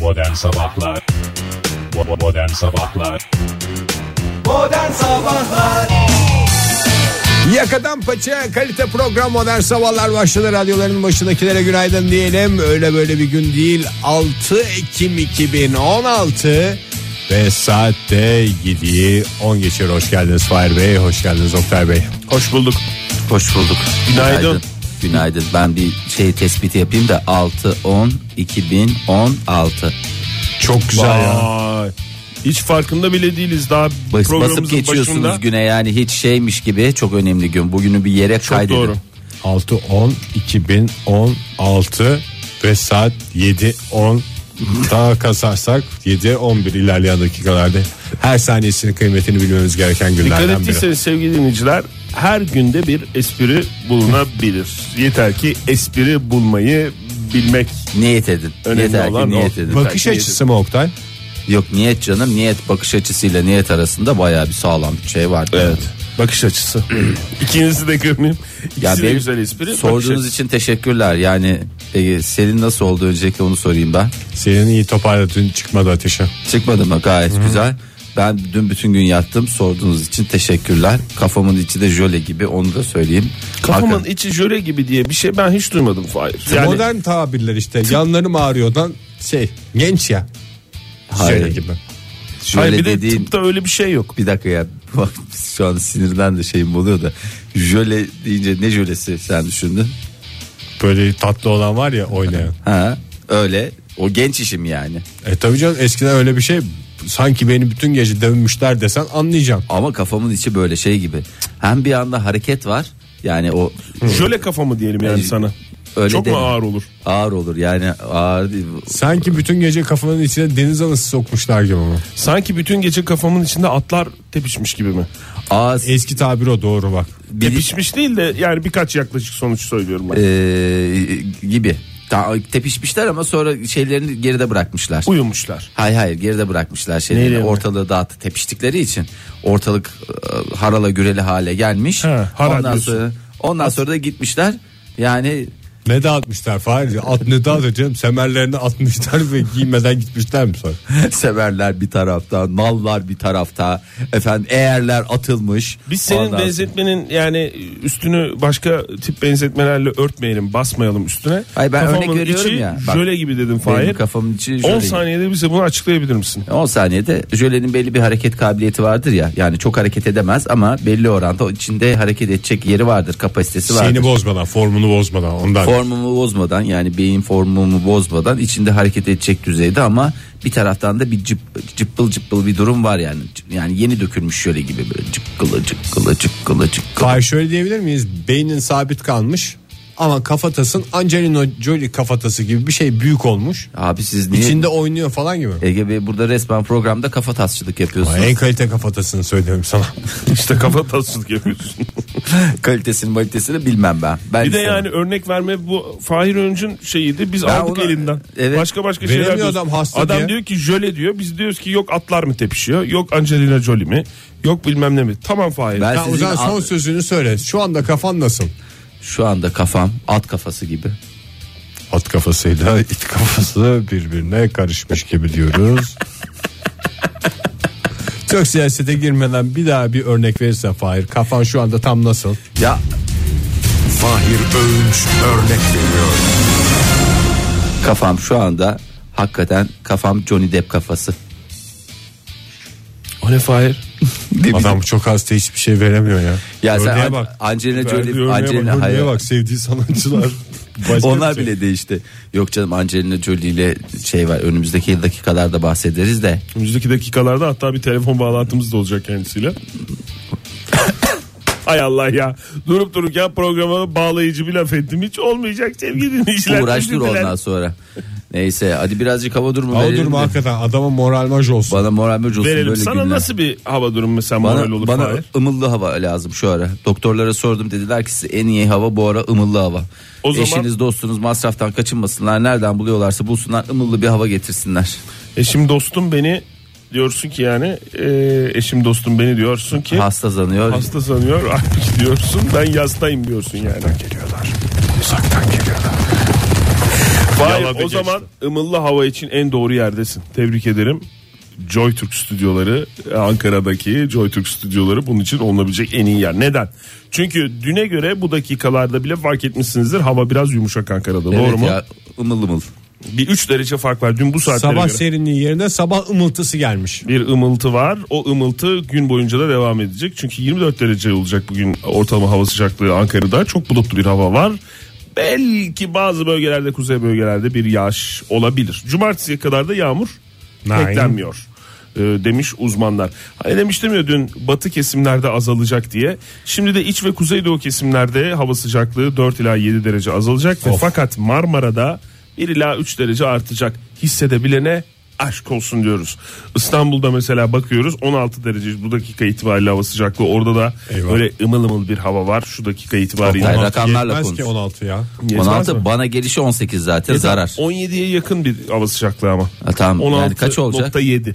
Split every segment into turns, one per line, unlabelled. Modern Sabahlar Bo- Modern Sabahlar
Modern Sabahlar
Yakadan paça kalite program modern sabahlar başladı. Radyoların başındakilere günaydın diyelim. Öyle böyle bir gün değil. 6 Ekim 2016 ve saatte 7'yi 10 geçiyor. Hoş geldiniz Fahir Bey, hoş geldiniz Oktay Bey.
Hoş bulduk.
Hoş bulduk.
Günaydın.
Günaydın. Ben bir şey tespiti yapayım da 6 10 2016.
Çok güzel ya.
Vay. Hiç farkında bile değiliz daha
Bas, basıp
programımızın
geçiyorsunuz
başında.
güne yani hiç şeymiş gibi çok önemli gün. Bugünü bir yere
Çok
kaydedin.
doğru.
6 10 2016 ve saat 7 10 daha kasarsak 7 11 ilerleyen dakikalarda her saniyesinin kıymetini bilmemiz gereken
Dikkat
günlerden biri.
ettiyseniz sevgili dinleyiciler her günde bir espri bulunabilir. Yeter ki espri bulmayı bilmek.
Niyet edin.
Önemli
Yeter ki
olan o.
niyet edin.
Bakış
Takip
açısı mı Oktay?
Yok niyet canım niyet bakış açısıyla niyet arasında bayağı bir sağlam bir şey var.
Bakış açısı. İkinizi de kırmayayım. İkisi
Ya
de
benim
güzel espri. Bakış
Sorduğunuz
açısı.
için teşekkürler. Yani e, senin nasıl oldu öncelikle onu sorayım ben.
Senin iyi toparladın çıkmadı ateşe.
Çıkmadı mı gayet güzel. Ben dün bütün gün yattım. Sorduğunuz için teşekkürler. Kafamın içi de jöle gibi onu da söyleyeyim.
Kafamın
Hakikaten-
içi jöle gibi diye bir şey ben hiç duymadım Fahir.
Modern tabirler işte yanlarım ağrıyordan şey genç ya.
Hayır.
Şöyle gibi.
jöle
Hayır, bir de
dediğin
tıpta öyle bir şey yok.
bir dakika ya. Bak şu an sinirden de şeyim oluyor da. Jöle deyince ne jölesi sen düşündün?
Böyle tatlı olan var ya oynayan.
Ha? Öyle. O genç işim yani.
e tabii canım eskiden öyle bir şey sanki beni bütün gece dövmüşler desen anlayacağım.
Ama kafamın içi böyle şey gibi. Hem bir anda hareket var. Yani o
Jöle kafamı diyelim yani sana.
Ee, öyle
Çok mu
deme.
ağır olur?
Ağır olur yani ağır değil.
Sanki bütün gece kafanın içine deniz anası sokmuşlar gibi ama.
Sanki bütün gece kafamın içinde atlar tepişmiş gibi mi?
Ağız
Eski tabir o doğru bak.
bir-
Tepişmiş değil de yani birkaç yaklaşık sonuç söylüyorum ben.
Ee, gibi. Ta- tepişmişler ama sonra şeylerini geride bırakmışlar.
Uyumuşlar.
Hayır hayır geride bırakmışlar şeyleri.
Nereye?
Ortalığı dağıttı tepiştikleri için. Ortalık e, harala güreli hale gelmiş.
He, hara
ondan
diyorsun.
sonra ondan sonra da gitmişler. Yani
Ne dağıtmışlar Fahri? At ne dağıtıyor canım? Semerlerini atmışlar ve giymeden gitmişler mi sonra?
severler bir tarafta, mallar bir tarafta. Efendim eğerler atılmış.
Biz senin
Ondan
benzetmenin yani üstünü başka tip benzetmelerle örtmeyelim, basmayalım üstüne.
Hayır, ben
Kafamın
örnek veriyorum
içi
ya. Bak,
jöle gibi dedim
sonra-
Fahir.
Benim kafamın içi
10
şöyle-
saniyede bize bunu açıklayabilir misin?
10 saniyede jölenin belli bir hareket kabiliyeti vardır ya. Yani çok hareket edemez ama belli oranda o içinde hareket edecek yeri vardır, kapasitesi vardır.
Şeyini bozmadan, formunu bozmadan ondan.
Formumu bozmadan yani beyin formumu bozmadan içinde hareket edecek düzeyde ama bir taraftan da bir cıp, cıppıl cıppıl bir durum var yani. Yani yeni dökülmüş şöyle gibi böyle cıkkılı cıkkılı cıkkılı cıkkılı.
Fahir şöyle diyebilir miyiz? Beynin sabit kalmış ama kafatasın Angelina Jolie kafatası gibi bir şey büyük olmuş.
Abi siz niye
İçinde oynuyor falan gibi.
Ege Bey burada resmen programda kafa tasçılık yapıyorsunuz.
En kalite kafatasını söylüyorum sana.
işte kafa tatsızlık yapıyorsun.
Kalitesini kalitesini bilmem ben. ben
bir de
istemem.
yani örnek verme bu Fahir Öncü'nün şeyiydi. Biz
Ben
aldık
ona-
elinden.
Evet.
Başka başka
Veremiyor
şeyler diyoruz.
adam hasta
Adam
diye.
diyor ki jöle diyor. Biz diyoruz ki yok atlar mı tepişiyor? Yok Angelina Jolie mi? Yok bilmem ne mi? Tamam Fahir.
Ben
Ya
sizin
Ozan son
al-
sözünü söyle. Şu anda kafan nasıl?
şu anda kafam at kafası gibi.
At kafasıyla it kafası birbirine karışmış gibi diyoruz. Çok siyasete girmeden bir daha bir örnek verirsen Fahir kafan şu anda tam nasıl?
Ya
Fahir Öğünç örnek veriyor
kafam şu anda hakikaten kafam Johnny Depp kafası.
O ne Fahir?
Bir-
Adam çok hasta hiçbir şey veremiyor ya.
Ya sen
Örneğe
An-
bak.
Angelina Jolie,
Verdiği örneğe
Angelina
bak, örneğe
hayır.
bak sevdiği sanatçılar. Başka
Onlar
bir şey.
bile değişti. Yok canım Angelina Jolie ile şey var önümüzdeki dakikalarda bahsederiz de.
Önümüzdeki dakikalarda hatta bir telefon bağlantımız da olacak kendisiyle. Hay Allah ya. Durup dururken programa bağlayıcı bir laf ettim. Hiç olmayacak sevgili dinleyiciler.
Uğraştır
Üzüntüler.
ondan sonra. Neyse hadi birazcık hava durumu
Hava
verelim.
durumu
de.
hakikaten adama moral maj olsun.
Bana moral mürc olsun
Verelim.
böyle
Sana
günler.
nasıl bir hava durumu mesela
bana,
moral olur
bana
Fahir?
ımıllı hava lazım şu ara. Doktorlara sordum dediler ki size en iyi hava bu ara ımıllı hava.
O zaman-
Eşiniz dostunuz masraftan kaçınmasınlar. Nereden buluyorlarsa bulsunlar ımıllı bir hava getirsinler.
Eşim dostum beni diyorsun ki yani e, eşim dostum beni diyorsun ki
Hasta zanıyor.
hasta sanıyor artık diyorsun ben yastayım diyorsun yani.
Geliyorlar uzaktan geliyorlar
Fahir,
Yaladı
o
geçti.
zaman ımıllı hava için en doğru yerdesin. Tebrik ederim. Joy Türk stüdyoları Ankara'daki Joy Türk stüdyoları bunun için olunabilecek en iyi yer. Neden? Çünkü düne göre bu dakikalarda bile fark etmişsinizdir hava biraz yumuşak Ankara'da. doğru
Evet
mu?
ya ımıl ımıl.
Bir 3 derece fark var dün bu saatlere
Sabah
göre.
serinliği yerine sabah ımıltısı gelmiş.
Bir ımıltı var. O ımıltı gün boyunca da devam edecek. Çünkü 24 derece olacak bugün ortalama hava sıcaklığı Ankara'da. Çok bulutlu bir hava var. Belki bazı bölgelerde kuzey bölgelerde bir yağış olabilir. Cumartesiye kadar da yağmur
Nein.
beklenmiyor. e, demiş uzmanlar. Hani demiş demiyor dün batı kesimlerde azalacak diye. Şimdi de iç ve kuzeydoğu kesimlerde hava sıcaklığı 4 ila 7 derece azalacak. ve Fakat Marmara'da 1 ila 3 derece artacak. Hissedebilene aşk olsun diyoruz. İstanbul'da mesela bakıyoruz 16 derece bu dakika itibariyle hava sıcaklığı. Orada da
Eyvah.
öyle ımıl ımıl bir hava var şu dakika itibariyle.
Hayır,
Ama
rakamlarla
Yetmez
konuş.
ki 16 ya.
yetmez mi?
16 bana gelişi 18 zaten zarar.
17'ye yakın bir hava sıcaklığı ama.
Ha, tamam. Yani kaç olacak?
16.7.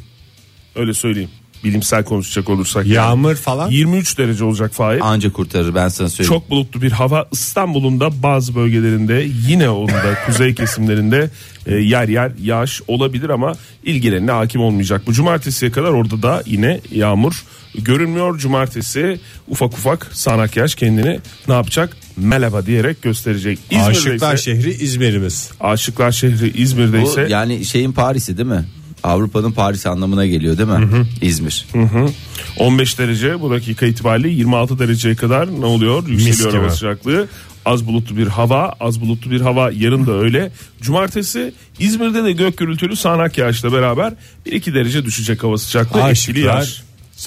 Öyle söyleyeyim. Bilimsel konuşacak olursak.
Yağmur falan.
23 derece olacak Fahir.
Anca kurtarır ben sana söyleyeyim.
Çok bulutlu bir hava İstanbul'un da bazı bölgelerinde yine onun da kuzey kesimlerinde e, yer yer yağış olabilir ama ilgilerine hakim olmayacak. Bu cumartesiye kadar orada da yine yağmur görünmüyor. Cumartesi ufak ufak sanak yağış kendini ne yapacak? Merhaba diyerek gösterecek. İzmir'de
Aşıklar
ise,
şehri İzmir'imiz.
Aşıklar şehri İzmir'de
Bu
ise
yani şeyin Paris'i değil mi? Avrupa'nın Paris anlamına geliyor değil mi? İzmir.
15 derece bu dakika itibariyle 26 dereceye kadar ne oluyor? Yükseliyor hava
gibi.
sıcaklığı. Az bulutlu bir hava, az bulutlu bir hava yarın da öyle. Cumartesi İzmir'de de gök gürültülü sağanak yağışla beraber 1-2 derece düşecek hava sıcaklığı. Etkili
Aşıklar
yağış.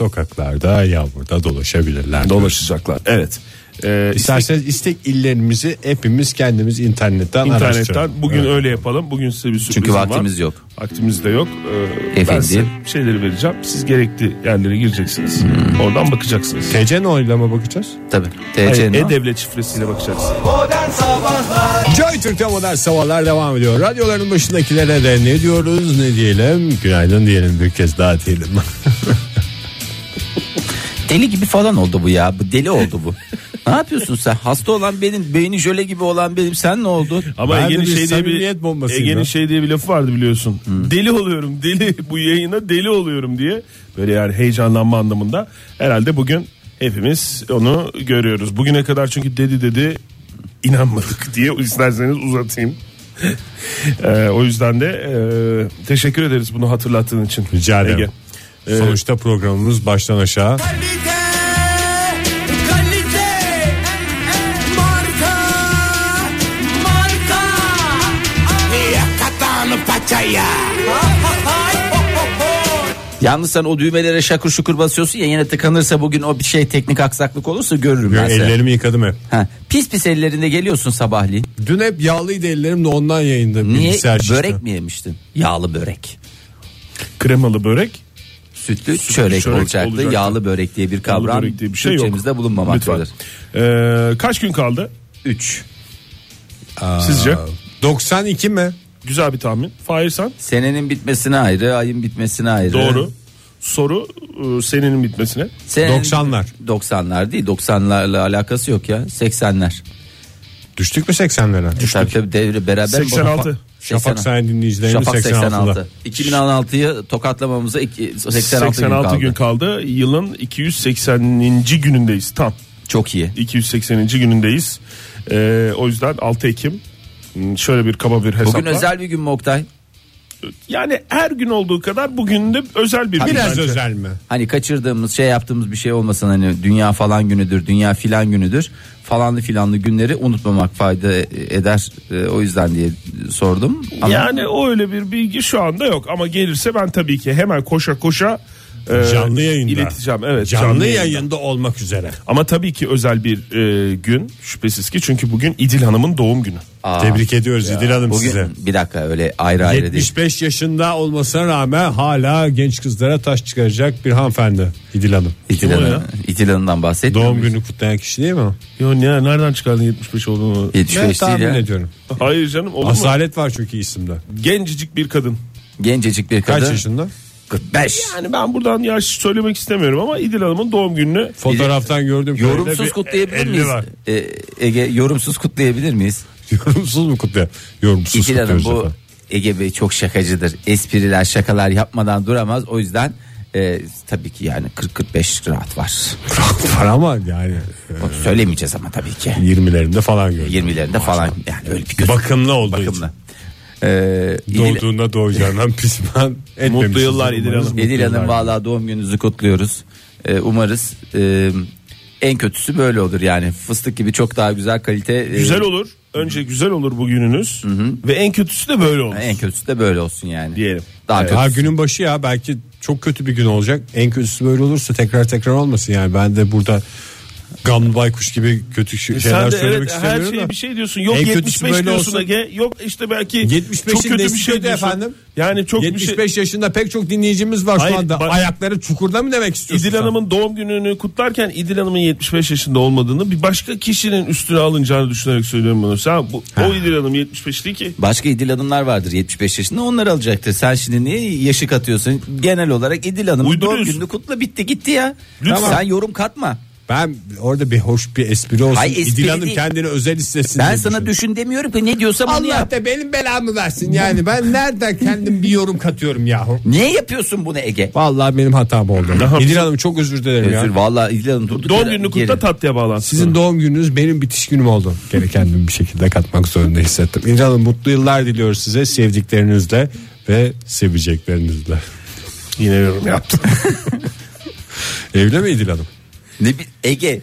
sokaklarda yağmurda dolaşabilirler.
Dolaşacaklar. Evet. Ee,
İsterseniz istek illerimizi hepimiz kendimiz internetten
internetten
araştıralım.
bugün
Evet.
öyle yapalım. Bugün size bir sürprizim
Çünkü
var.
vaktimiz yok.
Vaktimiz de yok. Ee, Ben
Efendim?
size şeyleri vereceğim. Siz gerekli yerlere gireceksiniz. Oradan bakacaksınız.
TC oyla mı bakacağız?
Tabii.
Hayır,
TC'nin o.
E-Devlet şifresiyle bakacaksınız.
Modern Sabahlar
Joy Türk'te modern sabahlar devam ediyor. Radyoların başındakilere de ne diyoruz ne diyelim? Günaydın diyelim bir kez daha diyelim.
Deli gibi falan oldu bu ya. Bu deli oldu bu. ne yapıyorsun sen? Hasta olan benim, beyni jöle gibi olan benim. Sen ne oldu?
Ama
Ben de
Ege'nin
bir
şey diye
samimiyet
bir
bombasıyım
Ege'nin
ya.
şey diye bir lafı vardı biliyorsun. Deli oluyorum deli bu yayına deli oluyorum diye böyle yani heyecanlanma anlamında herhalde bugün hepimiz onu görüyoruz. Bugüne kadar çünkü dedi dedi inanmadık diye isterseniz uzatayım. Ee, o yüzden de e, teşekkür ederiz bunu hatırlattığın için.
Rica ederim.
Ege.
Sonuçta programımız baştan aşağı
Kalite Kalite Marka Marka Yakatan paçaya
Yalnız sen o düğmelere şakır şukur basıyorsun ya yine tıkanırsa bugün o bir şey teknik aksaklık olursa görürüm ben seni.
ellerimi yıkadım hep.
Ha, pis pis ellerinde geliyorsun sabahleyin.
Dün hep yağlıydı ellerim de ondan yayında
Niye?
bilgisayar şişti.
Börek mi yemiştin? Yağlı börek.
Kremalı börek.
Sütlü, çörek,
çörek
olacaktı.
olacaktı.
Yağlı börek diye bir
kremalı
kavram
börek diye bir şey yok.
Türkçemizde
Lütfen.
bulunmamaktadır.
Ee, kaç gün kaldı
3.
sizce?
92 mi?
Güzel bir tahmin. Fahir sen?
Senenin bitmesine ayrı, ayın bitmesine ayrı.
Doğru. Soru e, senenin bitmesine.
Senenin-
90'lar.
90'lar değil, 90'larla alakası yok ya. 80'ler.
Düştük mü 80'lere?
E, Tabii tabii devre beraber.
86.
Şafak
86.
Sayın dinleyicilerimiz
Şafak
86'da.
86. 2016'yı tokatlamamıza iki- 86,
86
gün
gün
kaldı.
kaldı. Yılın 280. günündeyiz tam.
Çok iyi.
280. günündeyiz. Ee, o yüzden 6 Ekim Hmm, şöyle bir kaba bir hesapla.
Bugün özel bir gün mü Oktay?
Yani her gün olduğu kadar bugün de özel bir gün.
Biraz
bence.
özel mi?
Hani kaçırdığımız şey yaptığımız bir şey olmasın hani dünya falan günüdür dünya filan günüdür falanlı filanlı günleri unutmamak fayda eder Ee, o yüzden diye sordum. Ama
Yani o öyle bir bilgi şu anda yok ama gelirse ben tabii ki hemen koşa koşa e,
Canlı yayında.
ileteceğim. Evet,
Canlı, yayında olmak üzere.
Ama tabii ki özel bir e, gün şüphesiz ki çünkü bugün İdil Hanım'ın doğum günü.
Aa,
Tebrik ediyoruz İdil Hanım
bugün
size.
bir dakika öyle ayrı ayrı değil.
75 yaşında olmasına rağmen hala genç kızlara taş çıkaracak bir hanımefendi İdil Hanım.
İtil Hanım- İtil Hanım'dan bahsetmiyor
Doğum
muyuz?
günü kutlayan kişi değil mi? o?
Yo, ne, nereden çıkardın 75 olduğunu?
Yetişmiş
Ben
değil
tahmin
ya.
ediyorum.
Hayır canım olur mu?
Asalet var çünkü isimde.
Gencicik bir kadın.
Gencecik bir
Kaç
kadın.
yaşında?
45.
Yani ben buradan yaş söylemek istemiyorum ama İdil Hanım'ın doğum gününü
Fotoğraftan gördüm.
Yorumsuz E, kutlayabilir miyiz? Ee, Ege yorumsuz kutlayabilir miyiz?
Yorumsuz mu kutlayalım? Yorumsuz
İdil Hanım
kutluyoruz
bu
efendim.
Ege Bey çok şakacıdır. Espriler şakalar yapmadan duramaz. O yüzden e, tabii ki yani 40-45 rahat var.
Var ama yani e,
Onu söylemeyeceğiz ama tabii ki.
20'lerinde falan gördüm.
20'lerinde falan yani öyle bir göz
Bakımlı olduğu için.
bakımlı. Ee, İdil,
Doğduğunda doğacağından pişman etmemişiz.
Mutlu yıllar İdil Hanım.
Umarız
İdil
mutlu
Hanım
yıllar.
valla doğum gününüzü kutluyoruz. Ee, umarız e, en kötüsü böyle olur yani. Fıstık gibi çok daha güzel kalite. e,
Güzel olur. Önce güzel olur bugününüz ve en kötüsü de böyle olur.
En kötüsü de böyle olsun yani.
Diyelim.
Daha
Daha
kötüsü.
günün başı ya belki çok kötü bir gün olacak. En kötüsü böyle olursa tekrar tekrar olmasın yani. Ben de burada gamlı baykuş gibi kötü şey- şeyler
E, Sen de
söylemek
evet her
istemiyorum
şeye
da.
bir şey diyorsun. Yok
En kötüsü
75
böyle
diyorsun
olsun.
Ege. Yok işte belki
75'in
çok kötü bir
nesi
şey
kötü
diyorsun.
efendim?
Yani çok bir şey.
75 yaşında pek çok dinleyicimiz var
Hayır,
şu anda.
bak-
Ayakları çukurda mı demek istiyorsun?
İdil
sen?
Hanım'ın doğum gününü kutlarken İdil Hanım'ın 75 yaşında olmadığını bir başka kişinin üstüne alınacağını düşünerek söylüyorum bunu. Sen bu, o İdil Hanım 75 değil ki.
Başka İdil Hanımlar vardır 75 yaşında onları alacaktır. Sen şimdi niye yaşı katıyorsun? Genel olarak İdil Hanım doğum
Uyduruyorsun.
gününü kutla bitti gitti ya.
Lütfen.
Tamam, Sen yorum katma.
Ben orada bir hoş bir espri olsun.
Hayır, espri
İdil Hanım
değil.
kendini özel hissetsin.
Ben
diye
sana
düşünüyorum.
düşün demiyorum ki ne diyorsam onu
Allah
yap.
da benim belamı versin yani. Ben nereden kendim bir yorum katıyorum yahu.
Niye yapıyorsun bunu Ege?
Vallahi benim hatam oldu. İdil Hanım çok özür dilerim ya.
Özür vallahi İdil Hanım durduk
Doğum
yere-
gününü
yere-
kutla tatlıya bağlansın.
Sizin doğum gününüz benim bitiş günüm oldu. Gene kendimi bir şekilde katmak zorunda hissettim. İnce Hanım mutlu yıllar diliyoruz size sevdiklerinizle ve seveceklerinizle.
yine yorum yaptım.
Evli mi İdil Hanım?
Ne bi- Ege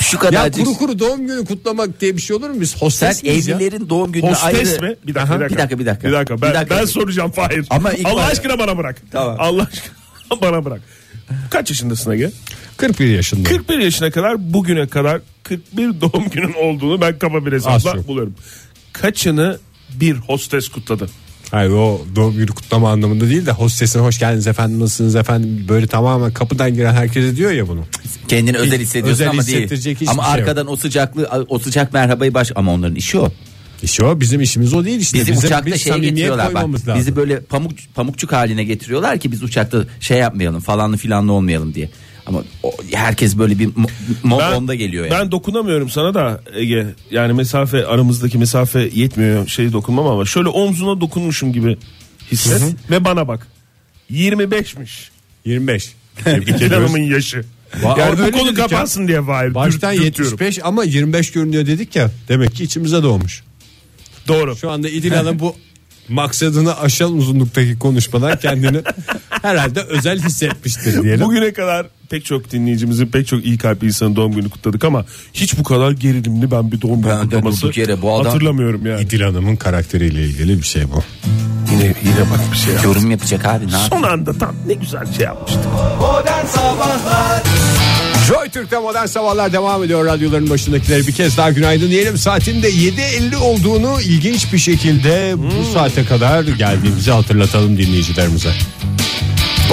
şu
Ya
kadarcık.
kuru kuru doğum günü kutlamak diye bir şey olur mu? Biz
Sen
hostes miyiz ya?
evlilerin doğum gününü
Hostes
ayrı.
mi? Bir dakika,
Aha,
bir dakika.
bir dakika.
Bir dakika. Ben,
Bir dakika.
ben soracağım Fahir.
Ama ilk
Allah
başta-
aşkına bana bırak.
Tamam.
Allah aşkına bana bırak. Kaç yaşındasın Ege?
41 yaşında.
41 yaşına kadar bugüne kadar 41 doğum günün olduğunu ben kafa bir
Az
hesapla
çok.
buluyorum. Kaçını bir hostes kutladı?
Hayır o doğum günü kutlama anlamında değil de hostesin hoş geldiniz efendim nasılsınız efendim böyle tamamen kapıdan giren herkese diyor ya bunu.
Kendini özel
Hiç-
hissediyorsun
özel
ama
hissettirecek
değil.
hiçbir
Ama
şey yok.
arkadan o sıcaklığı o sıcak merhabayı baş ama onların işi o.
İşte o bizim işimiz o değil işte.
Bizi
Bizim-
uçakta
biz
şey
samimiyet
getiriyorlar bak.
koymamız lazım.
Bizi böyle pamuk pamukçuk haline getiriyorlar ki biz uçakta şey yapmayalım falanlı filanlı olmayalım diye. Ama o- herkes böyle bir mo- mod onda geliyor yani.
Ben dokunamıyorum sana da Ege. Yani mesafe aramızdaki mesafe yetmiyor. Şey dokunmam ama şöyle omzuna dokunmuşum gibi hisset ve bana bak. 25'miş.
25. Tebrik
İdil
ediyoruz.
Hanım'ın yaşı.
Va-
yani bu
öyle
konu
dedik ya.
kapansın diye Fahir.
Baştan
Dürt- dürtüyorum.
75 ama 25 görünüyor dedik ya. Demek ki içimize doğmuş.
Doğru.
Şu anda İdil Hanım bu maksadını aşan uzunluktaki konuşmadan kendini herhalde özel hissetmiştir diyelim.
Bugüne kadar pek çok dinleyicimizin pek çok iyi kalpli insanın doğum günü kutladık ama hiç bu kadar gerilimli ben bir doğum günü
Ben de
kutlaması
durduk yere bu adam-
hatırlamıyorum yani.
İdil Hanım'ın karakteriyle ilgili bir şey bu.
Yine, yine bak bir şey yap.
Yorum yapacak abi ne yap-
Son anda tam ne güzel şey yapmıştı.
Modern Sabahlar
Joy Türk'te modern sabahlar devam ediyor. Radyoların başındakileri bir kez daha günaydın diyelim. Saatin de 7.50 olduğunu ilginç bir şekilde bu saate kadar geldiğimizi hatırlatalım dinleyicilerimize.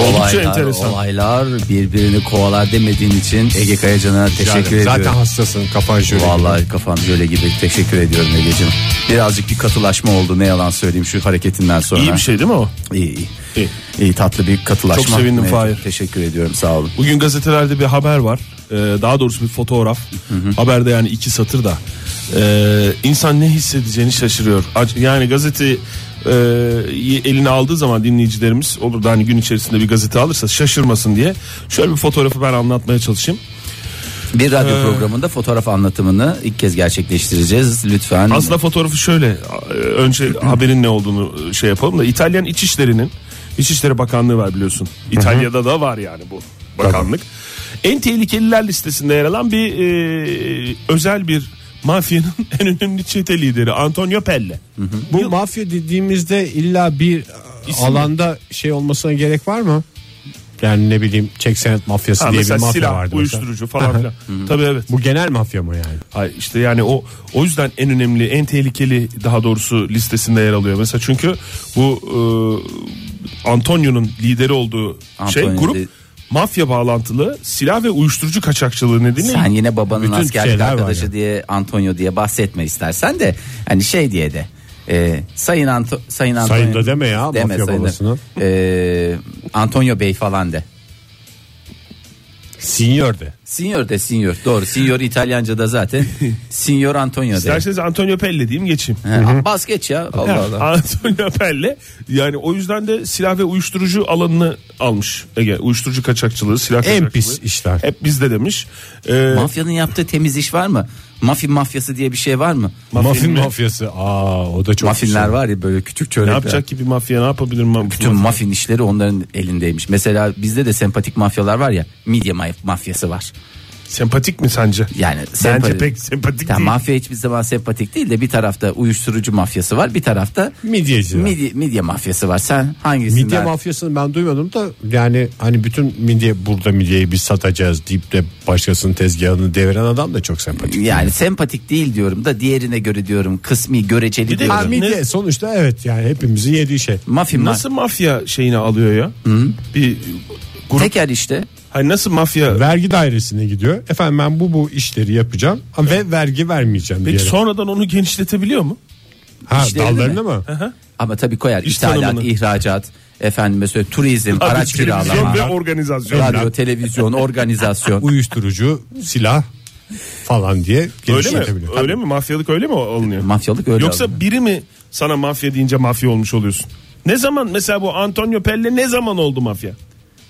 Oldukça
Olaylar,
enteresan.
olaylar birbirini kovalar demediğin için Ege Kayacan'a teşekkür
Yani
ediyorum.
Zaten hastasın kafan şöyle.
Vallahi kafam böyle gibi teşekkür ediyorum Ege'cim. Birazcık bir katılaşma oldu ne yalan söyleyeyim şu hareketinden sonra.
İyi bir şey değil mi o?
İyi iyi.
İyi.
İyi, tatlı bir katılaşma.
Çok sevindim
Evet,
Fahir.
Teşekkür ediyorum sağ olun.
Bugün gazetelerde bir haber var. Ee, daha doğrusu bir fotoğraf. Haberde yani iki satır da. Ee, insan ne hissedeceğini şaşırıyor. Ac- Yani gazete e, eline aldığı zaman dinleyicilerimiz olur da hani gün içerisinde bir gazete alırsa şaşırmasın diye. Şöyle bir fotoğrafı ben anlatmaya çalışayım.
Bir radyo programında fotoğraf anlatımını ilk kez gerçekleştireceğiz. Lütfen.
Aslında fotoğrafı şöyle e, önce haberin ne olduğunu şey yapalım da İtalyan İçişleri'nin İçişleri Bakanlığı var biliyorsun. İtalya'da da var yani bu bakanlık. En tehlikeliler listesinde yer alan bir e, özel bir mafyanın en önemli çete lideri Antonio Pelle.
Bu mafya dediğimizde illa bir e,
İsim mi?
alanda şey olmasına gerek var mı? Yani ne bileyim çek senet mafyası
Ha,
diye bir
mesela
mafya
silah,
vardı. mesela.
uyuşturucu falan filan. Tabii evet.
Bu genel mafya mı yani?
Hayır, işte yani o o yüzden en önemli en tehlikeli daha doğrusu listesinde yer alıyor. Mesela çünkü bu e, Antonio'nun lideri olduğu şey
Antonio
grup
de-
mafya bağlantılı silah ve uyuşturucu kaçakçılığı nedeniyle
sen yine babanın
Bütün
askerlik
şeyler var
arkadaşı
yani.
diye Antonio diye bahsetme istersen de hani şey diye de e, Sayın Anto Sayın Antonio
Sayın da deme ya, mafya
Sayın da.
babasına.
E, Antonio Bey falan de.
Senior de.
Signor de signor. Doğru. Signor İtalyanca'da zaten. Signor Antonio de.
İsterseniz Antonio Pelle diyeyim geçeyim.
He, bas geç ya. Allah
Ya,
Allah.
Antonio Pelle yani o yüzden de silah ve uyuşturucu alanını almış Ege. Uyuşturucu kaçakçılığı, silah kaçakçılığı.
En pis işler.
Hep bizde demiş. Ee,
Mafyanın yaptığı temiz iş var mı? Mafya mafyası diye bir şey var mı?
Muffin
mi?
mafyası. Aa o da çok
Muffinler
güzel.
var ya böyle küçük
ne
çörekler.
yapacak ki bir mafya ne yapabilir ma-
Bütün muffin işleri onların elindeymiş. Mesela bizde de sempatik mafyalar var ya. Midye ma- mafyası var.
Sempatik mi sence?
Yani
Bence
sempati-
pek sempatik
Ya
değil.
mafya hiçbir zaman sempatik değil de bir tarafta uyuşturucu mafyası var, bir tarafta
Midyeci var.
midye, midye mafyası var. Sen hangisinden?
Midye mafyasını ben duymadım da yani hani bütün midye burada midyeyi biz satacağız deyip de başkasının tezgahını deviren adam da çok sempatik.
yani sempatik değil diyorum da diğerine göre diyorum kısmi göreceli
Bir de-
diyorum.
Ha, midye sonuçta evet yani hepimizi yediği şey.
Mafya
Nasıl mafya şeyini alıyor ya? Bir grup
Teker işte.
hani nasıl mafya?
Vergi dairesine gidiyor. Efendim ben bu bu işleri yapacağım Ha, ve vergi vermeyeceğim
Peki
diye.
sonradan onu genişletebiliyor mu?
ha
İşlerini
dallarını
mi?
mı?
Ama tabii koyar
İş
ithalat,
tanımını.
ihracat, efendim mesela turizm, araç
Televizyon
kiralama,
ve organizasyon.
radyo, televizyon, organizasyon.
Uyuşturucu, silah falan diye
Öyle mi?
genişletebilir.
Öyle mi? Mafyalık öyle mi alınıyor?
Mafyalık öyle.
Yoksa
alınıyor.
biri mi sana mafya deyince mafya olmuş oluyorsun? Ne zaman mesela bu Antonio Pelle ne zaman oldu mafya?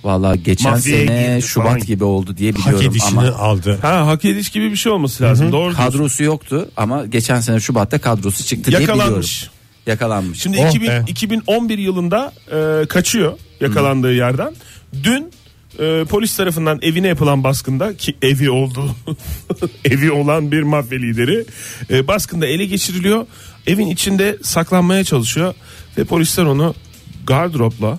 vallahi geçen
Mafyaya
sene
girdi
Şubat
falan.
gibi oldu diye
Hak
biliyorum
edişini
ama
aldı.
Ha hak ediş gibi bir şey olması lazım. Doğru. diyorsun.
kadrosu yoktu ama geçen sene Şubat'ta kadrosu çıktı diye biliyorum.
Yakalanmış.
Yakalanmış.
Şimdi
Oh
2000
be.
2011 yılında e, kaçıyor yakalandığı yerden. Dün e, polis tarafından evine yapılan baskında ki evi oldu. evi olan bir mafya lideri e, baskında ele geçiriliyor. Evin içinde saklanmaya çalışıyor ve polisler onu gardıropla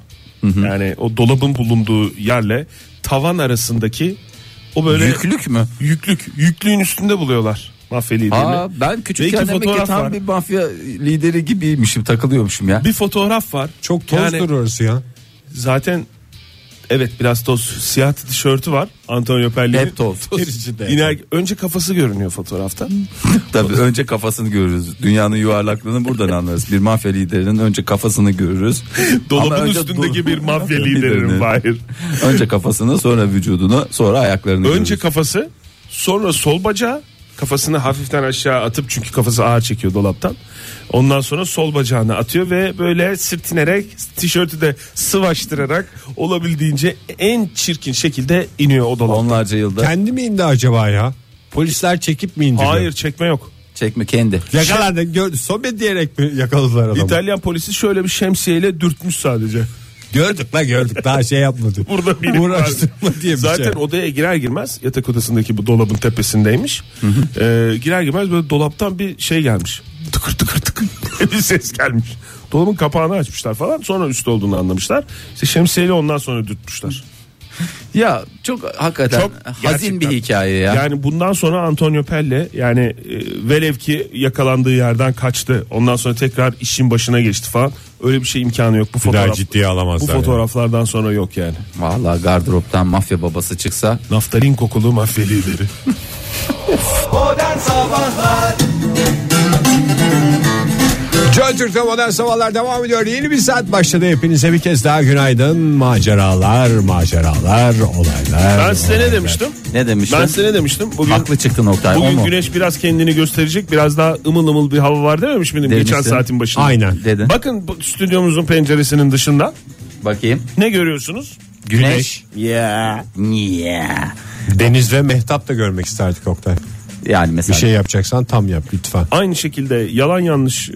yani o dolabın bulunduğu yerle tavan arasındaki o böyle
Yüklük mü?
yüklük yüklüğün üstünde buluyorlar mafya liderini.
Aa, ben
Ve
küçükken
iki
demek ki
fotoğraf
tam
var.
bir mafya lideri gibiymişim takılıyormuşum ya.
Bir fotoğraf var.
Çok toz
Yani-
orası ya.
zaten evet biraz toz siyah tişörtü var Antonio Pelli'nin.
Hep toz.
Hep
içinde.
iner- önce kafası görünüyor fotoğrafta.
Tabii önce kafasını görürüz. Dünyanın yuvarlaklığını buradan anlarız. Bir mafya liderinin önce kafasını görürüz. Ama
Dolabın
önce
üstündeki
dol-
bir mafya liderinin Fahir.
Önce kafasını sonra vücudunu sonra ayaklarını
Önce
görürüz.
kafası sonra sol bacağı kafasını hafiften aşağı atıp çünkü kafası ağır çekiyor dolaptan. Ondan sonra sol bacağını atıyor ve böyle sırtınarak tişörtü de sıvaştırarak olabildiğince en çirkin şekilde iniyor o dolaptan.
Onlarca yılda
Kendi mi indi acaba ya? Polisler çekip mi indiriyor?
Hayır çekme yok.
çekme kendi.
Yakalandı. Gördü. Sohbet diyerek mi yakaladılar adamı?
İtalyan polisi şöyle bir şemsiyeyle dürtmüş sadece.
Gördük la gördük. Daha şey yapmadı.
Burada benim
Uğraştırma
var.
diye bir
Zaten
şey.
odaya girer girmez yatak odasındaki bu dolabın tepesindeymiş. Ee, girer girmez böyle dolaptan bir şey gelmiş. Tıkır tıkır tıkır diye bir ses gelmiş. Dolabın kapağını açmışlar falan. Sonra üst olduğunu anlamışlar. İşte şemsiyeyle ondan sonra dürtmüşler.
Ya çok hakikaten
Çok
hazin
gerçekten.
bir hikaye ya.
Yani bundan sonra Antonio Pelle yani e, velev ki yakalandığı yerden kaçtı. Ondan sonra tekrar işin başına geçti falan. Öyle bir şey imkanı yok. Bu
Bir daha
fotoğraf,
ciddiye
bu
alamazlar. yani.
fotoğraflardan sonra yok yani.
Vallahi gardıroptan mafya babası çıksa
Naftalin kokulu mafya lideri.
Modern Sabahlar
Joy Türk'te modern sabahlar devam ediyor. Yeni bir saat başladı. Hepinize bir kez daha günaydın. Maceralar, maceralar, olaylar.
Ben size ne
olaylar.
demiştim?
ne demiştin?
Ben size ne demiştim? Bugün,
Haklı çıktın Oktay. o
bugün
mu?
güneş biraz kendini gösterecek. Biraz daha ımıl ımıl bir hava var dememiş miydim
Demiştin.
geçen saatin başında?
Aynen.
Dedin.
Bakın bu stüdyomuzun penceresinin dışında
Bakayım.
ne görüyorsunuz?
Güneş. Ya. Yeah.
Deniz ve mehtap da görmek isterdik Oktay.
Yani
Bir
mesela
şey yapacaksan tam yap lütfen.
Aynı şekilde yalan yanlış e,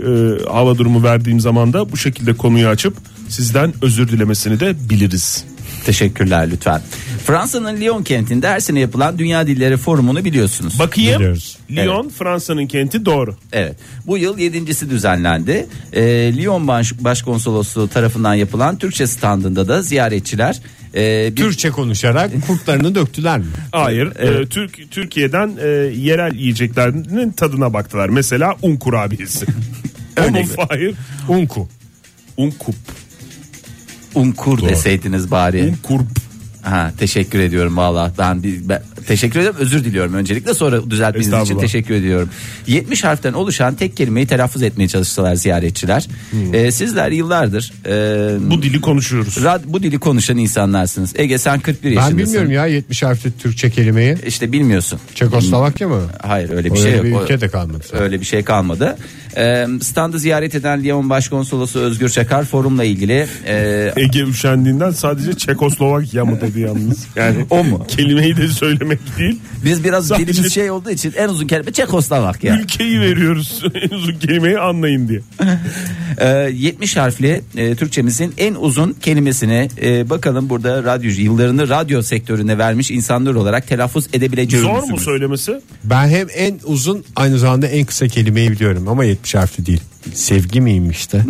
hava durumu verdiğim zaman da bu şekilde konuyu açıp sizden özür dilemesini de biliriz.
Teşekkürler lütfen. Fransa'nın Lyon kentinde her sene yapılan Dünya Dilleri Forumu'nu biliyorsunuz.
Bakayım.
Biliyoruz.
Lyon Fransa'nın kenti doğru.
Evet. Bu yıl yedincisi düzenlendi. Ee, Lyon Baş- Başkonsolosluğu tarafından yapılan Türkçe standında da ziyaretçiler e, bir
Türkçe konuşarak kurtlarını döktüler mi?
Hayır. e, Türk Türkiye'den e, yerel yiyeceklerinin tadına baktılar. Mesela un kurabiyesi.
Örnek
Onun Hayır.
Unku.
Un kup.
unkur deseydiniz bari.
Un kurp.
Ha, teşekkür ediyorum valla. Ben, bir- ben- Teşekkür ederim. Özür diliyorum öncelikle. Sonra düzeltmeniz için
Estağfurullah.
teşekkür ediyorum. 70 harften oluşan tek kelimeyi telaffuz etmeye çalışsalar ziyaretçiler.
Hmm.
Ee, sizler yıllardır e,
Bu dili konuşuyoruz.
rad- bu dili konuşan insanlarsınız. Ege sen 41 yaşındasın.
Ben bilmiyorum ya 70 harfli Türkçe kelimeyi.
İşte bilmiyorsun.
Çekoslovakya mı?
Hayır öyle bir
Öyle
şey yok.
bir
O-
ülke de kalmadı.
Öyle bir şey kalmadı. Ee, standı ziyaret eden Lyon Başkonsolosu Özgür Çakar forumla ilgili e,
Ege üşendiğinden sadece Çekoslovakya mı dedi yalnız. Yani
O mu?
Kelimeyi de söylemek değil.
biz biraz
Sadece-
dilimiz şey olduğu için en uzun kelime Çekoslovakya.
Ülkeyi veriyoruz. en uzun kelimeyi anlayın diye.
Ee, 70 harfli e, Türkçemizin en uzun kelimesini e, bakalım burada radyo yıllarını radyo sektörüne vermiş insanlar olarak telaffuz edebileceğimiz.
Zor mu söylemesi?
Ben hem en uzun aynı zamanda en kısa kelimeyi biliyorum ama 70 harfli değil. Sevgi miymiş de?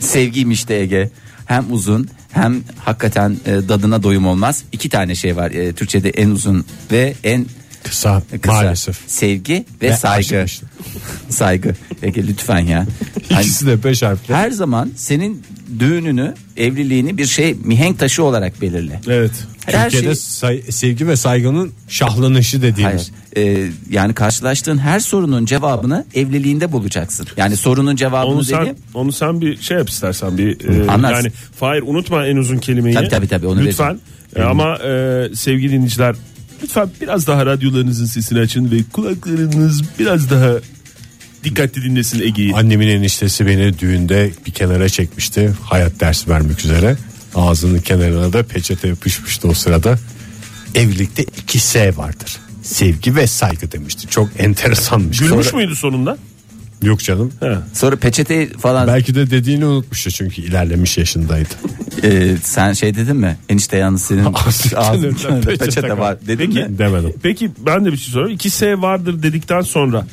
Sevgiymiş de Ege. Hem uzun hem hakikaten e, dadına doyum olmaz. İki tane şey var e, Türkçe'de en uzun ve en
Kısa,
kısa.
maalesef.
Sevgi ve,
Ve
saygı.
aşık işte.
saygı. Ege lütfen ya. Hani-
İkisi de 5 harfli.
her zaman senin düğününü, evliliğini bir şey mihenk taşı olarak belirle.
Evet.
Her
Türkiye'de
şey
say- sevgi ve saygının şahlanışı dediğimiz.
Hayır. Ee, yani karşılaştığın her sorunun cevabını evliliğinde bulacaksın. Yani sorunun cevabını
Onu
dediğim
sen, onu sen bir şey yap istersen bir e,
Anlarsın.
yani Fahir unutma en uzun kelimeyi.
Tabii, tabii, tabii, onu
Lütfen E, ama e, sevgili dinleyiciler lütfen biraz daha radyolarınızın sesini açın ve kulaklarınız biraz daha dikkatli dinlesin Ege'yi.
Annemin eniştesi beni düğünde bir kenara çekmişti. Hayat dersi vermek üzere. Ağzının kenarına da peçete yapışmıştı o sırada. Evlilikte iki S vardır. Sevgi ve saygı demişti. Çok enteresanmış.
Gülmüş
Sonra-
müydü sonunda?
Yok canım.
sonra peçete falan
Belki de dediğini unutmuştu çünkü ilerlemiş yaşındaydı.
Ee, sen şey dedin mi? Enişte yalnız senin ağzın
kenarında
peçete,
peçete
var dedin
Peki.
mi?
Demedim.
Peki ben de bir şey sorayım. 2S vardır dedikten sonra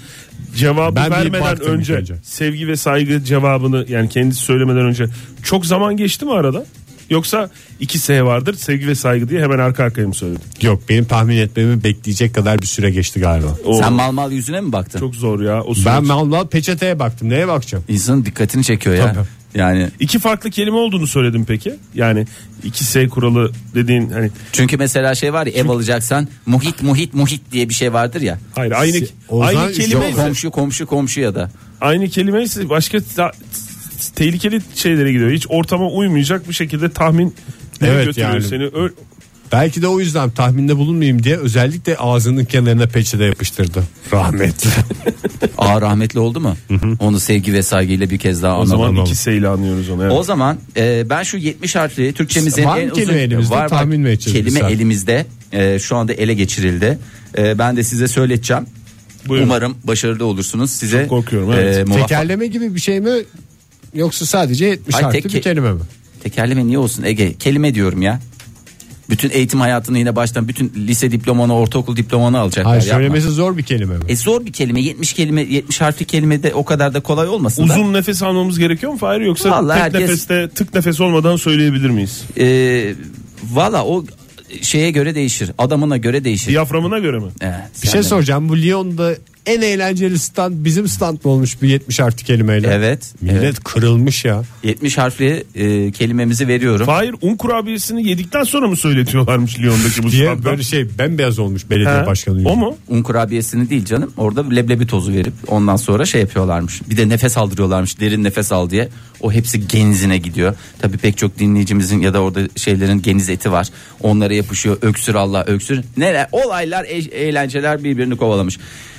cevabı
Ben bir
vermeden
baktım
önce,
ilk önce.
sevgi ve saygı cevabını yani kendisi söylemeden önce çok zaman geçti mi arada? Yoksa 2S vardır sevgi ve saygı diye hemen arka arkaya mı söyledin?
Yok benim tahmin etmemi bekleyecek kadar bir süre geçti galiba.
O
Sen mal mal yüzüne mi baktın?
çok zor ya. O
Ben
ben
mal peçeteye baktım. Neye bakacağım?
İnsanın dikkatini çekiyor ya.
Tabii.
Yani
İki farklı kelime olduğunu söyledim peki. Yani 2S kuralı dediğin hani
çünkü mesela şey var ya ev alacaksan muhit muhit muhit diye bir şey vardır ya.
hayır aynı
Ozan-
aynı kelime
Yok,
Komşu komşu komşu ya da.
aynı kelime ise başka ta- tehlikeli şeylere gidiyor. Hiç ortama uymayacak bir şekilde tahmin
Evet,
götürüyor
yani.
seni. Ö-
Belki de o yüzden tahminde bulunmayayım diye özellikle ağzının kenarına peçete yapıştırdı. Rahmetli.
Aa rahmetli oldu mu? Onu sevgi ve saygıyla bir kez daha
O
anlatalım.
zaman ikiseyle anlıyoruz onu. Evet.
O zaman e, ben şu 70 harfli Türkçemizin
Var mı
en
kelime
uzun
elimizde?
var, var.
Tahmin mi edeceğiz
Kelime
biz sen?
elimizde. E, şu anda ele geçirildi. E, ben de size söyleteceğim.
Buyurun.
Umarım başarılı olursunuz. Size e,
Çok korkuyorum, evet.
muvaffak-
Tekerleme gibi bir şey mi? Yoksa sadece 70
Hayır,
harfli
tek-
bir kelime mi?
tekerleme niye olsun Ege? Kelime diyorum ya. Bütün eğitim hayatını yine baştan bütün lise diplomanı, ortaokul diplomanı alacaklar.
Hayır
yapma.
söylemesi zor bir kelime mi?
E zor bir kelime. 70 kelime 70 harfli kelime de o kadar da kolay olmasın. da.
Uzun nefes almamız gerekiyor mu Fahir yoksa
Vallahi
tek
herkes-
nefeste tık nefes olmadan söyleyebilir miyiz?
E, Valla o şeye göre değişir. Adamına göre değişir.
Diyaframına göre mi?
E,
bir
sen
şey
de-
soracağım. Bu Lyon'da en eğlenceli stand bizim stand mı olmuş bir 70 harfli kelimeyle?
Evet.
Millet
evet.
kırılmış ya.
70 harfli e, kelimemizi veriyorum.
Fahir un kurabiyesini yedikten sonra mı söyletiyorlarmış Lyon'daki bu
Diye
standdan?
böyle şey bembeyaz olmuş belediye
He?
başkanı.
O
yüzünden.
mu?
Un kurabiyesini değil canım. Orada leblebi tozu verip ondan sonra şey yapıyorlarmış. Bir de nefes aldırıyorlarmış. Derin nefes al diye. O hepsi genizine gidiyor. Tabii pek çok dinleyicimizin ya da orada şeylerin geniz eti var. Onlara yapışıyor. Öksür Allah öksür. Neler olaylar e- eğlenceler birbirini kovalamış.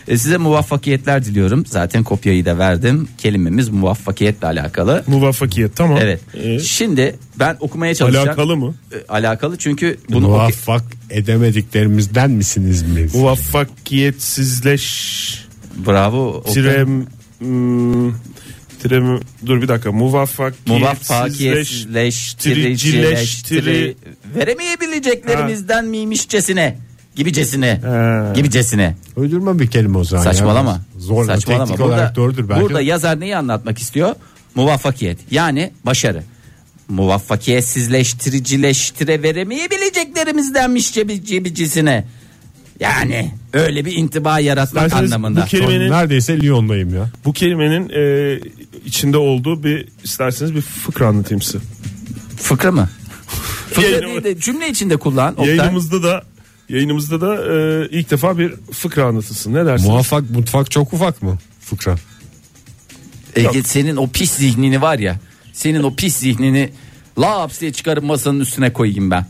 E, size muvaffakiyetler diliyorum. Zaten kopyayı da verdim. Kelimemiz muvaffakiyetle alakalı.
Muvaffakiyet tamam.
Evet.
Ee,
Şimdi ben okumaya çalışacağım.
alakalı mı?
E, alakalı çünkü bunu
Bunu
oku-
Muvaffak edemediklerimizden misiniz mi?
Muvaffakiyetsizleş
Bravo. Oktay.
tirem hmm, tirem dur bir dakika muvaffakiyetsizleş
Muvaffakiyetleştiricileştiri veremeyebileceklerimizden miymişçesine gibicesine
Ha.
gibicesine
Uydurma bir kelime o zaman. ya.
saçmalama
Zorla
saçmalama
teknik olarak doğrudur belki.
burada yazar neyi anlatmak istiyor muvaffakiyet yani başarı muvaffakiyetsizleştiricileştire veremeyebileceklerimizdenmişçe gibicisine yani öyle bir intiba yaratmak
İsterseniz
anlamında
bu kelimenin-
neredeyse Lyon'dayım ya.
bu kelimenin e, içinde olduğu bir isterseniz bir fıkra anlatayım size.
fıkra mı Fıkra
Yayınımı-
değil de cümle içinde kullan Oktay.
Yayınımızda da Yayınımızda da e, ilk defa bir fıkra anlatılsın. Ne dersin?
Muvaffak mutfak çok ufak mı? Fıkra.
Ege E, senin o pis zihnini var ya. Senin o pis zihnini laps diye çıkarıp masanın üstüne koyayım ben.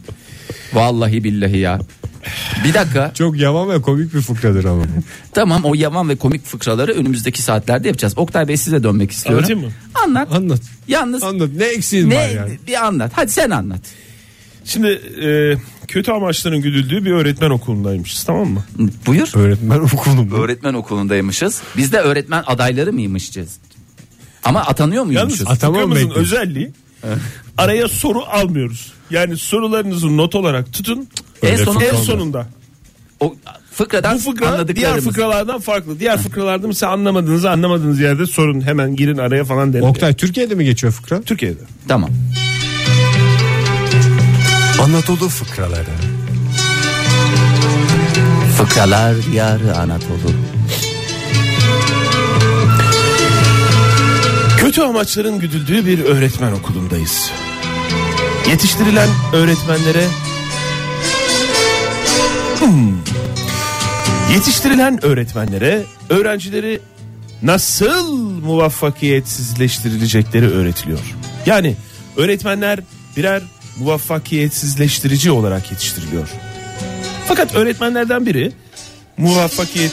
Vallahi billahi ya. Bir dakika.
Çok yaman ve komik bir fıkradır ama.
Tamam o yaman ve komik fıkraları önümüzdeki saatlerde yapacağız. Oktay Bey size dönmek istiyorum.
Anlatayım mı?
Anlat.
Anlat.
Yalnız
Anlat. Ne eksiğin var
ne
yani?
bir anlat. Hadi sen anlat.
Şimdi e, kötü amaçların güdüldüğü bir öğretmen okulundaymışız tamam mı?
Buyur.
Öğretmen okulum.
Öğretmen okulundaymışız. Biz de öğretmen adayları mıymışız? Ama atanıyor muymuşuz?
Yalnız
Yalnız atama mı
fıkramızın
bekliyorsun?
özelliği araya soru almıyoruz. Yani sorularınızı not olarak tutun.
En
En,
sonunda-
sonunda.
O fıkradan
Bu fıkra diğer
anladıklarımız.
fıkralardan farklı. Diğer fıkralarda mesela anlamadığınız anlamadığınız yerde sorun hemen girin araya falan derim.
Oktay Türkiye'de mi geçiyor fıkra?
Türkiye'de.
Tamam.
Anadolu fıkraları.
Fıkralar diyarı Anadolu.
Kötü amaçların güdüldüğü bir öğretmen okulundayız. Yetiştirilen öğretmenlere Hmm. Yetiştirilen öğretmenlere öğrencileri nasıl muvaffakiyetsizleştirilecekleri öğretiliyor. Yani öğretmenler birer muvaffakiyetsizleştirici olarak yetiştiriliyor. Fakat öğretmenlerden biri muvaffakiyet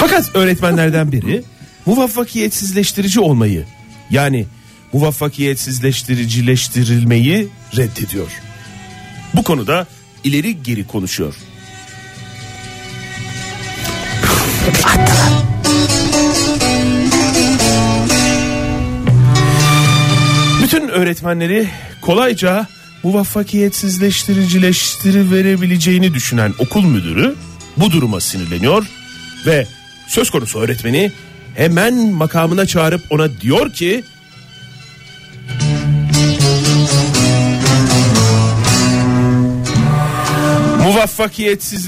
Fakat öğretmenlerden biri muvaffakiyetsizleştirici olmayı yani muvaffakiyetsizleştiricileştirilmeyi reddediyor. Bu konuda ileri geri konuşuyor. Bütün öğretmenleri kolayca muvaffakiyetsizleştiricileştiri verebileceğini düşünen okul müdürü bu duruma sinirleniyor ve söz konusu öğretmeni hemen makamına çağırıp ona diyor ki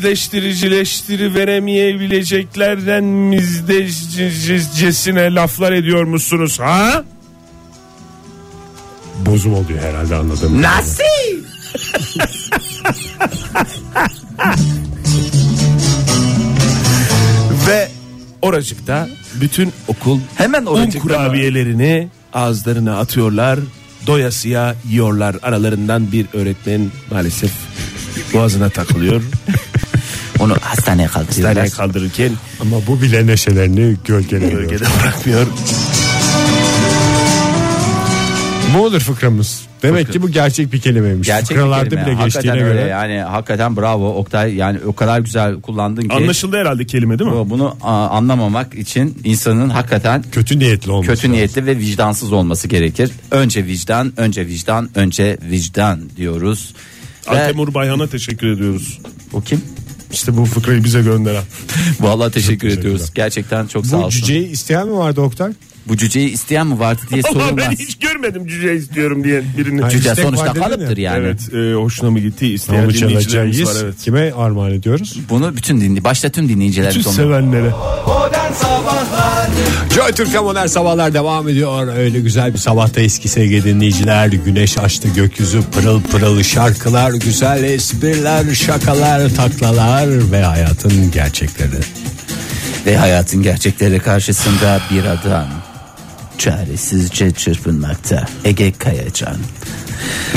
muvaffakiyetsizleştiricileştiri veremeyebileceklerden mizdecesine laflar ediyor musunuz ha?
Bozum oluyor herhalde anladım.
Nasıl?
Ve oracıkta bütün okul
Hemen
un
oracıkta mı?
kurabiyelerini ağızlarına atıyorlar. Doyasıya yiyorlar. Aralarından bir öğretmen maalesef boğazına takılıyor.
Onu hastaneye kaldırıyorlar.
Hastaneye kaldırırken
Ama bu bile neşelerini gölgeleniyor.
bölgede bırakmıyor.
Bu olur fıkramız. Demek ki bu gerçek bir kelimeymiş.
Gerçek bir
Fıkralarda
kelime.
bile geçtiğine
hakikaten
göre.
öyle yani hakikaten bravo Oktay yani o kadar güzel kullandın ki
Anlaşıldı herhalde kelime değil mi?
bu- bunu a, anlamamak için insanın hakikaten
Kötü niyetli olmuş.
kötü niyetli ve vicdansız olması gerekir. Önce vicdan, önce vicdan, önce vicdan diyoruz. Ve
Antemur Bayhan'a teşekkür ediyoruz.
o kim?
İşte bu fıkrayı bize gönderen.
Vallahi teşekkür ediyoruz. Gerçekten çok sağ
Bu
olsun.
cüceyi isteyen mi vardı Oktay?
Bu cüceyi isteyen mi vardı diye
Ama ben
sorulmaz.
hiç görmedim cüce istiyorum diye birini.
Hayır.
Cüce
İstek
sonuçta
var dedin ya.
kalıptır yani.
Evet e, hoşuna mı gitti isteyen
Onu
dinleyicilerimiz var
çalacağız.
evet.
Kime armağan ediyoruz?
Bunu bütün dinli başta tüm dinleyiciler
Bütün
sonu-
sevenlere.
Modern Sabahlar
Joy Türk'te modern sabahlar devam ediyor. Öyle güzel bir sabahta eski sevgili dinleyiciler. Güneş açtı gökyüzü pırıl pırıl şarkılar, güzel espriler, şakalar, taklalar ve hayatın gerçekleri.
ve hayatın gerçekleri karşısında bir adam çaresizce çırpınmakta. Ege Kayacan.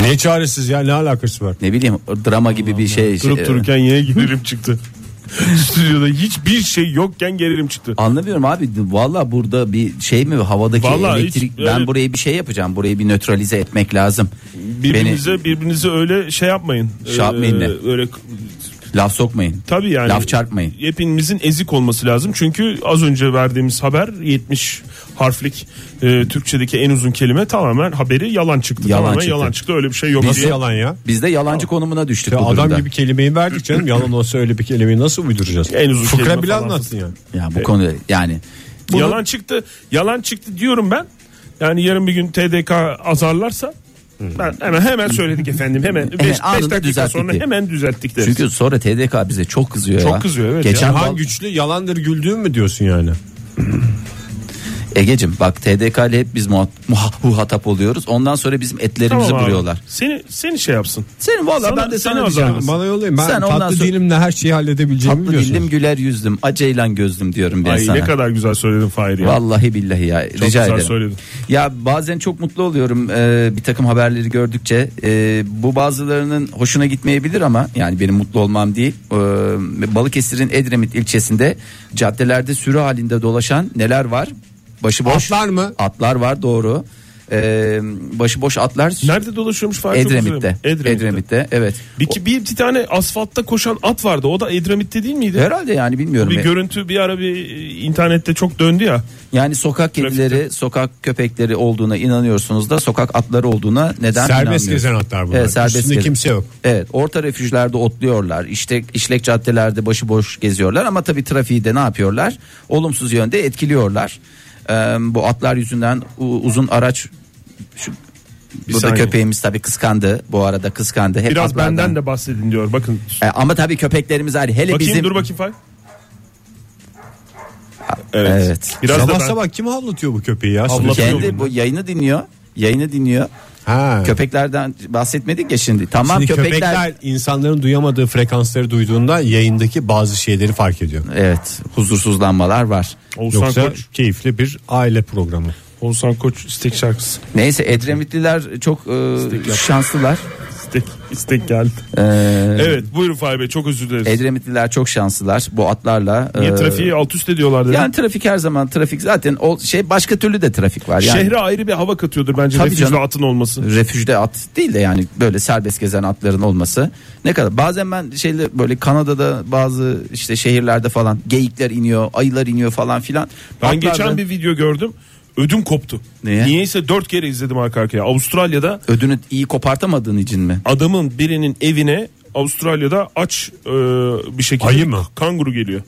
Ne çaresiz ya ne alakası var?
Ne bileyim o drama gibi bir şey. şey-
Durup dururken yine gelirim çıktı. Stüdyoda hiçbir şey yokken gelirim çıktı.
Anlamıyorum abi valla burada bir şey mi havadaki
Vallahi hiç
elektrik
öyle-
ben buraya bir şey yapacağım burayı bir nötralize etmek lazım.
Birbirinize birbirinize öyle şey yapmayın. Ee,
Şey yapmayın ne?
Öyle
Beni laf sokmayın.
tabii yani.
Laf çarpmayın.
Hepimizin ezik olması lazım. Çünkü az önce verdiğimiz haber 70 harflik e, Türkçedeki en uzun kelime tamamen haberi yalan çıktı.
Yalan
tamamen
çıktı.
yalan çıktı. Öyle bir şey yok
Nasıl
diye.
yalan ya?
Biz de yalancı konumuna düştük
Ya
bu
adam
durumda.
gibi kelimeyi verdik canım. Yalan olsa öyle bir kelimeyi nasıl uyduracağız?
En uzun kelime
Fıkra bile
falan.
anlattın yani.
Ya bu konu yani bunu-
Yalan çıktı. Yalan çıktı diyorum ben. Yani yarın bir gün TDK azarlarsa ben hemen hemen söyledik efendim. Hemen 5
Hmm. anında
dakika
düzelttik
sonra
diye.
hemen düzelttik deriz.
çünkü sonra TDK bize çok kızıyor ya.
Çok kızıyor, evet
Geçen
Yani
ya,
hangi güçlü yalandır güldüğün mü diyorsun yani?
Egecim bak TDK ile hep biz muhat- muha- muhatap oluyoruz. Ondan sonra bizim etlerimizi
abi.
vuruyorlar.
Seni, seni şey yapsın.
Senin valla
Sana-
ben de
sana
sana
o
diyeceğim.
zaman.
Bana yollayın ben
Sen ondan
tatlı
sonra-
dilimle her şeyi halledebileceğimi
Tatlı
biliyorsunuz.
dillim güler yüzdüm. Aceylan gözlüm diyorum ben
Ay
sana.
ne kadar güzel söyledin Fahir ya.
Vallahi billahi ya rica
güzel
ederim.
söyledin.
Ya bazen çok mutlu oluyorum e, bir takım haberleri gördükçe. E, bu bazılarının hoşuna gitmeyebilir ama yani benim mutlu olmam değil. E, Balıkesir'in Edremit ilçesinde caddelerde sürü halinde dolaşan neler var? Başıboş
Atlar mı?
Atlar var doğru. E, başıboş atlar
Nerede dolaşıyormuş Fahir? Çok
Edremit'te.
üzülüyorum. Edremit'te.
Edremit'te evet.
Bir, bir, bir tane asfaltta koşan at vardı. O da Edremit'te değil miydi?
E, Herhalde yani bilmiyorum.
Bir görüntü bir ara bir internette çok döndü ya.
Yani sokak kedileri, sokak köpekleri olduğuna inanıyorsunuz da sokak atları olduğuna neden
Serbest
inanmıyorsunuz?
gezen atlar bunlar.
Evet, serbest
Üstünde
gezen.
kimse yok.
Evet, orta refüjlerde otluyorlar. İşte işlek caddelerde başıboş geziyorlar ama tabii trafiği de ne yapıyorlar? Olumsuz yönde etkiliyorlar. Ee, bu atlar yüzünden u- uzun araç şu Burada
saniye.
köpeğimiz tabii kıskandı. Bu arada kıskandı. Hep
Biraz
E, atlardan-
benden de bahsedin diyor. Bakın.
E, ama tabii köpeklerimiz ayrı. Hele
Bakayım
bizim
dur bakayım Fahir. Evet.
evet.
Biraz
sabah
da ben-
sabah kim havlatıyor bu köpeği ya?
Havlatıyor.
Sürekli.
kendi bu yayını dinliyor. Yayını dinliyor.
Ha.
Köpeklerden bahsetmedik ya şimdi. Tamam
Şimdi
köpekler...
köpekler... insanların duyamadığı frekansları duyduğunda yayındaki bazı şeyleri fark ediyor.
Evet huzursuzlanmalar var.
Oğuzhan
Yoksa
Koç.
keyifli bir aile programı.
Oğuzhan Koç istek şarkısı.
Neyse Edremitliler çok e, şanslılar.
İstek, istek geldi.
Ee,
evet buyurun Fahir Bey çok özür dileriz.
Edremitliler çok şanslılar bu atlarla. e,
Niye trafiği alt üst ediyorlar dedi.
yani trafik her zaman trafik zaten o şey başka türlü de trafik var. Yani
Şehre ayrı bir hava katıyordur bence
Tabii
refüjde
canım.
atın olması.
refüjde at değil de yani böyle serbest gezen atların olması ne kadar bazen ben şeyle böyle Kanada'da bazı işte şehirlerde falan geyikler iniyor ayılar iniyor falan filan
Ben
Atlar
geçen
da-
bir video gördüm. Ödüm koptu.
Niye?
Niyeyse dört kere izledim arka arkaya. Avustralya'da
ödünü iyi kopartamadığın için mi
adamın birinin evine Avustralya'da aç e, bir şekilde
Ayı mı?
kanguru geliyor.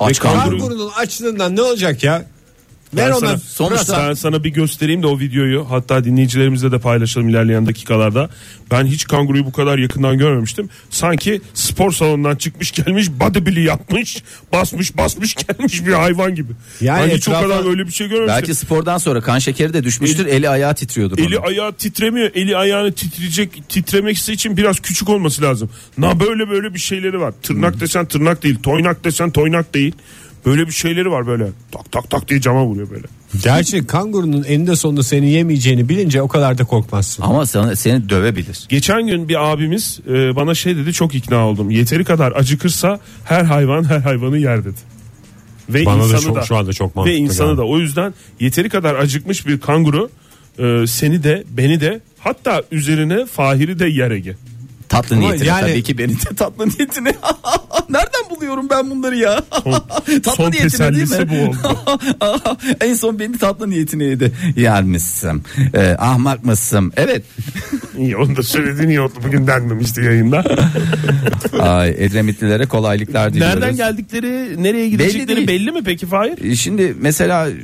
aç
Ve kanguru.
kanguru
Kangurunun açlığından ne olacak ya? Ver
Ben
ona
sana-
sonuçta-
ben sana bir göstereyim de o videoyu hatta dinleyicilerimizle de paylaşalım ilerleyen dakikalarda. Ben hiç kanguruyu bu kadar yakından görmemiştim. Sanki spor salonundan çıkmış gelmiş bodybuilding yapmış basmış basmış gelmiş bir hayvan gibi.
Yani
Yani ben hiç o
etrafa-
kadar öyle bir şey görmemiştim.
belki spordan sonra kan şekeri de düşmüştür eli ayağı titriyordur onun.
Eli ayağı titremiyor. Eli ayağını titreyecek titremesi için biraz küçük olması lazım. Na böyle böyle bir şeyleri var. Tırnak
Hmm.
desen tırnak değil, toynak desen toynak değil. Böyle bir şeyleri var böyle. Tak tak tak diye cama vuruyor böyle.
Gerçi kangurunun eninde sonunda seni yemeyeceğini bilince o kadar da korkmazsın.
Ama sana, seni dövebilir.
Geçen gün bir abimiz e, bana şey dedi çok ikna oldum. Yeteri kadar acıkırsa her hayvan her hayvanı yer dedi. Ve
Bana da
insanı
çok- şu anda çok mantıklı
Ve insanı
geldi.
da o yüzden yeteri kadar acıkmış bir kanguru e, seni de beni de hatta üzerine Fahir'i de yer Ege.
Tatlı
Ama
niyetine
yani-
tabii ki beni de tatlı niyetine. Nereden buluyorum ben bunları ya? tatlı
son
niyetine değil
tesellisi
mi?
bu
en son beni tatlı niyetineydi. Yer misim? Ee, ahmak mısın? Evet.
İyi onu da söylediğin iyi oldu. Bugün denmemişti yayında.
Ay, Edremitlilere kolaylıklar diliyoruz.
Nereden geldikleri, nereye gidecekleri belli,
değil.
mi peki Fahir?
Ee, Şimdi mesela e,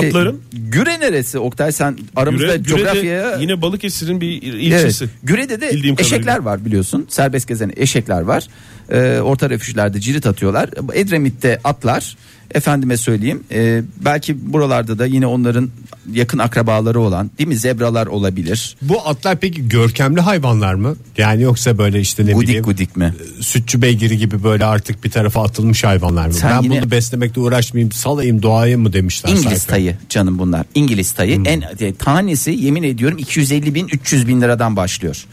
şey,
Atların?
Güre neresi Oktay sen aramızda
Güre,
coğrafyaya
Güre'de yine Balıkesir'in bir il-
Evet.
ilçesi.
Güre'de de
Bildiğim
eşekler
kadarıyla.
var biliyorsun. Serbest gezen eşekler var. Ee, orta refüjlerde cirit atıyorlar. Edremit'te atlar. Efendime söyleyeyim. ee, belki buralarda da yine onların yakın akrabaları olan değil mi zebralar olabilir.
Bu atlar peki görkemli hayvanlar mı? Yani yoksa böyle işte ne bileyim Ee,
Gudik gudik mi?
sütçü beygiri gibi böyle artık bir tarafa atılmış hayvanlar mı?
Sen
ben
yine-
bunu beslemekle uğraşmayayım salayım doğaya mı demişler.
İngiliz
sahibi.
tayı canım bunlar. İngiliz tayı
Hmm.
en e, tanesi yemin ediyorum 250 bin 300 bin liradan başlıyor.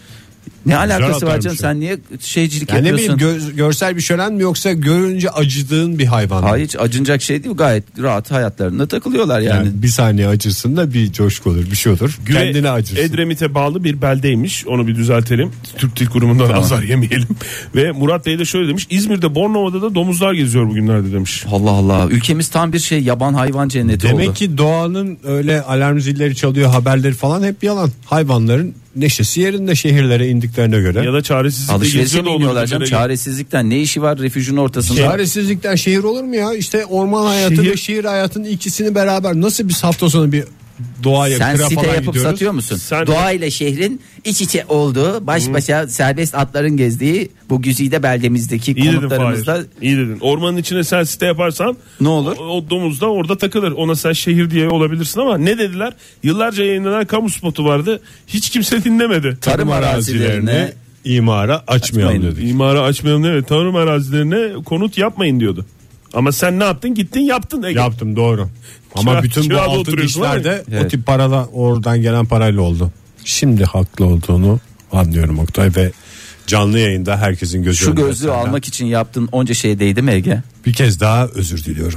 Ne alakası var
atarmış
canım
ya.
sen niye şeycilik
Yani ne
yapıyorsun?
bileyim gö- görsel bir şölen mi yoksa görünce acıdığın bir hayvan mı?
Hayır hiç acınacak şey değil gayet rahat hayatlarında takılıyorlar
Yani,
yani.
bir saniye acırsın da bir coşku olur bir şey olur.
Güre,
Kendini acırsın.
Edremit'e bağlı bir beldeymiş. Onu bir düzeltelim. Türk Dil Kurumu'ndan azar yemeyelim. Ve Murat Bey de şöyle demiş. İzmir'de Bornova'da da domuzlar geziyor bugünlerde demiş.
Allah Allah ülkemiz tam bir şey yaban hayvan cenneti
Demek
oldu.
ki doğanın öyle alarm zilleri çalıyor haberleri falan hep yalan. Hayvanların neşesi yerinde şehirlere indiklerine göre.
Ya da çaresizlikle
Alışverişe
geziyor da
mi
olur.
iniyorlar canım? Çaresizlikten ne işi var refüjün ortasında?
Çaresizlikten şehir olur mu ya? İşte orman hayatı
Şehir-
ve şehir hayatının ikisini beraber nasıl biz hafta sonu bir doğaya
Sen
kıra
site
falan
yapıp
gidiyoruz.
satıyor musun?
Sen-
Doğa ile şehrin iç içe olduğu, baş başa serbest atların gezdiği bu güzide beldemizdeki
İyi dedin
konutlarımızda
Fahir. İyi dedin. Ormanın içine sen site yaparsan
Ne olur?
O, o domuz da orada takılır. Ona sen şehir diye olabilirsin ama ne dediler? Yıllarca yayınlanan kamu spotu vardı. Hiç kimse dinlemedi.
tarım arazilerine
arazilerini imara açmayalım
Açmayın.
dedik.
İmara açmayalım ne? Tarım arazilerine konut yapmayın diyordu. Ama sen ne yaptın? Gittin yaptın. E, Ege.
Yaptım doğru.
Kira-
Ama bütün bu
kirada
altın
oturuyorsun ama-
işlerde o
Evet.
tip paralar oradan gelen parayla oldu. Şimdi haklı olduğunu anlıyorum Oktay ve canlı yayında herkesin gözü
şu
önünde
gözlüğü
senden.
almak için yaptığın onca şey değdi mi Ege?
Bir kez daha özür diliyorum.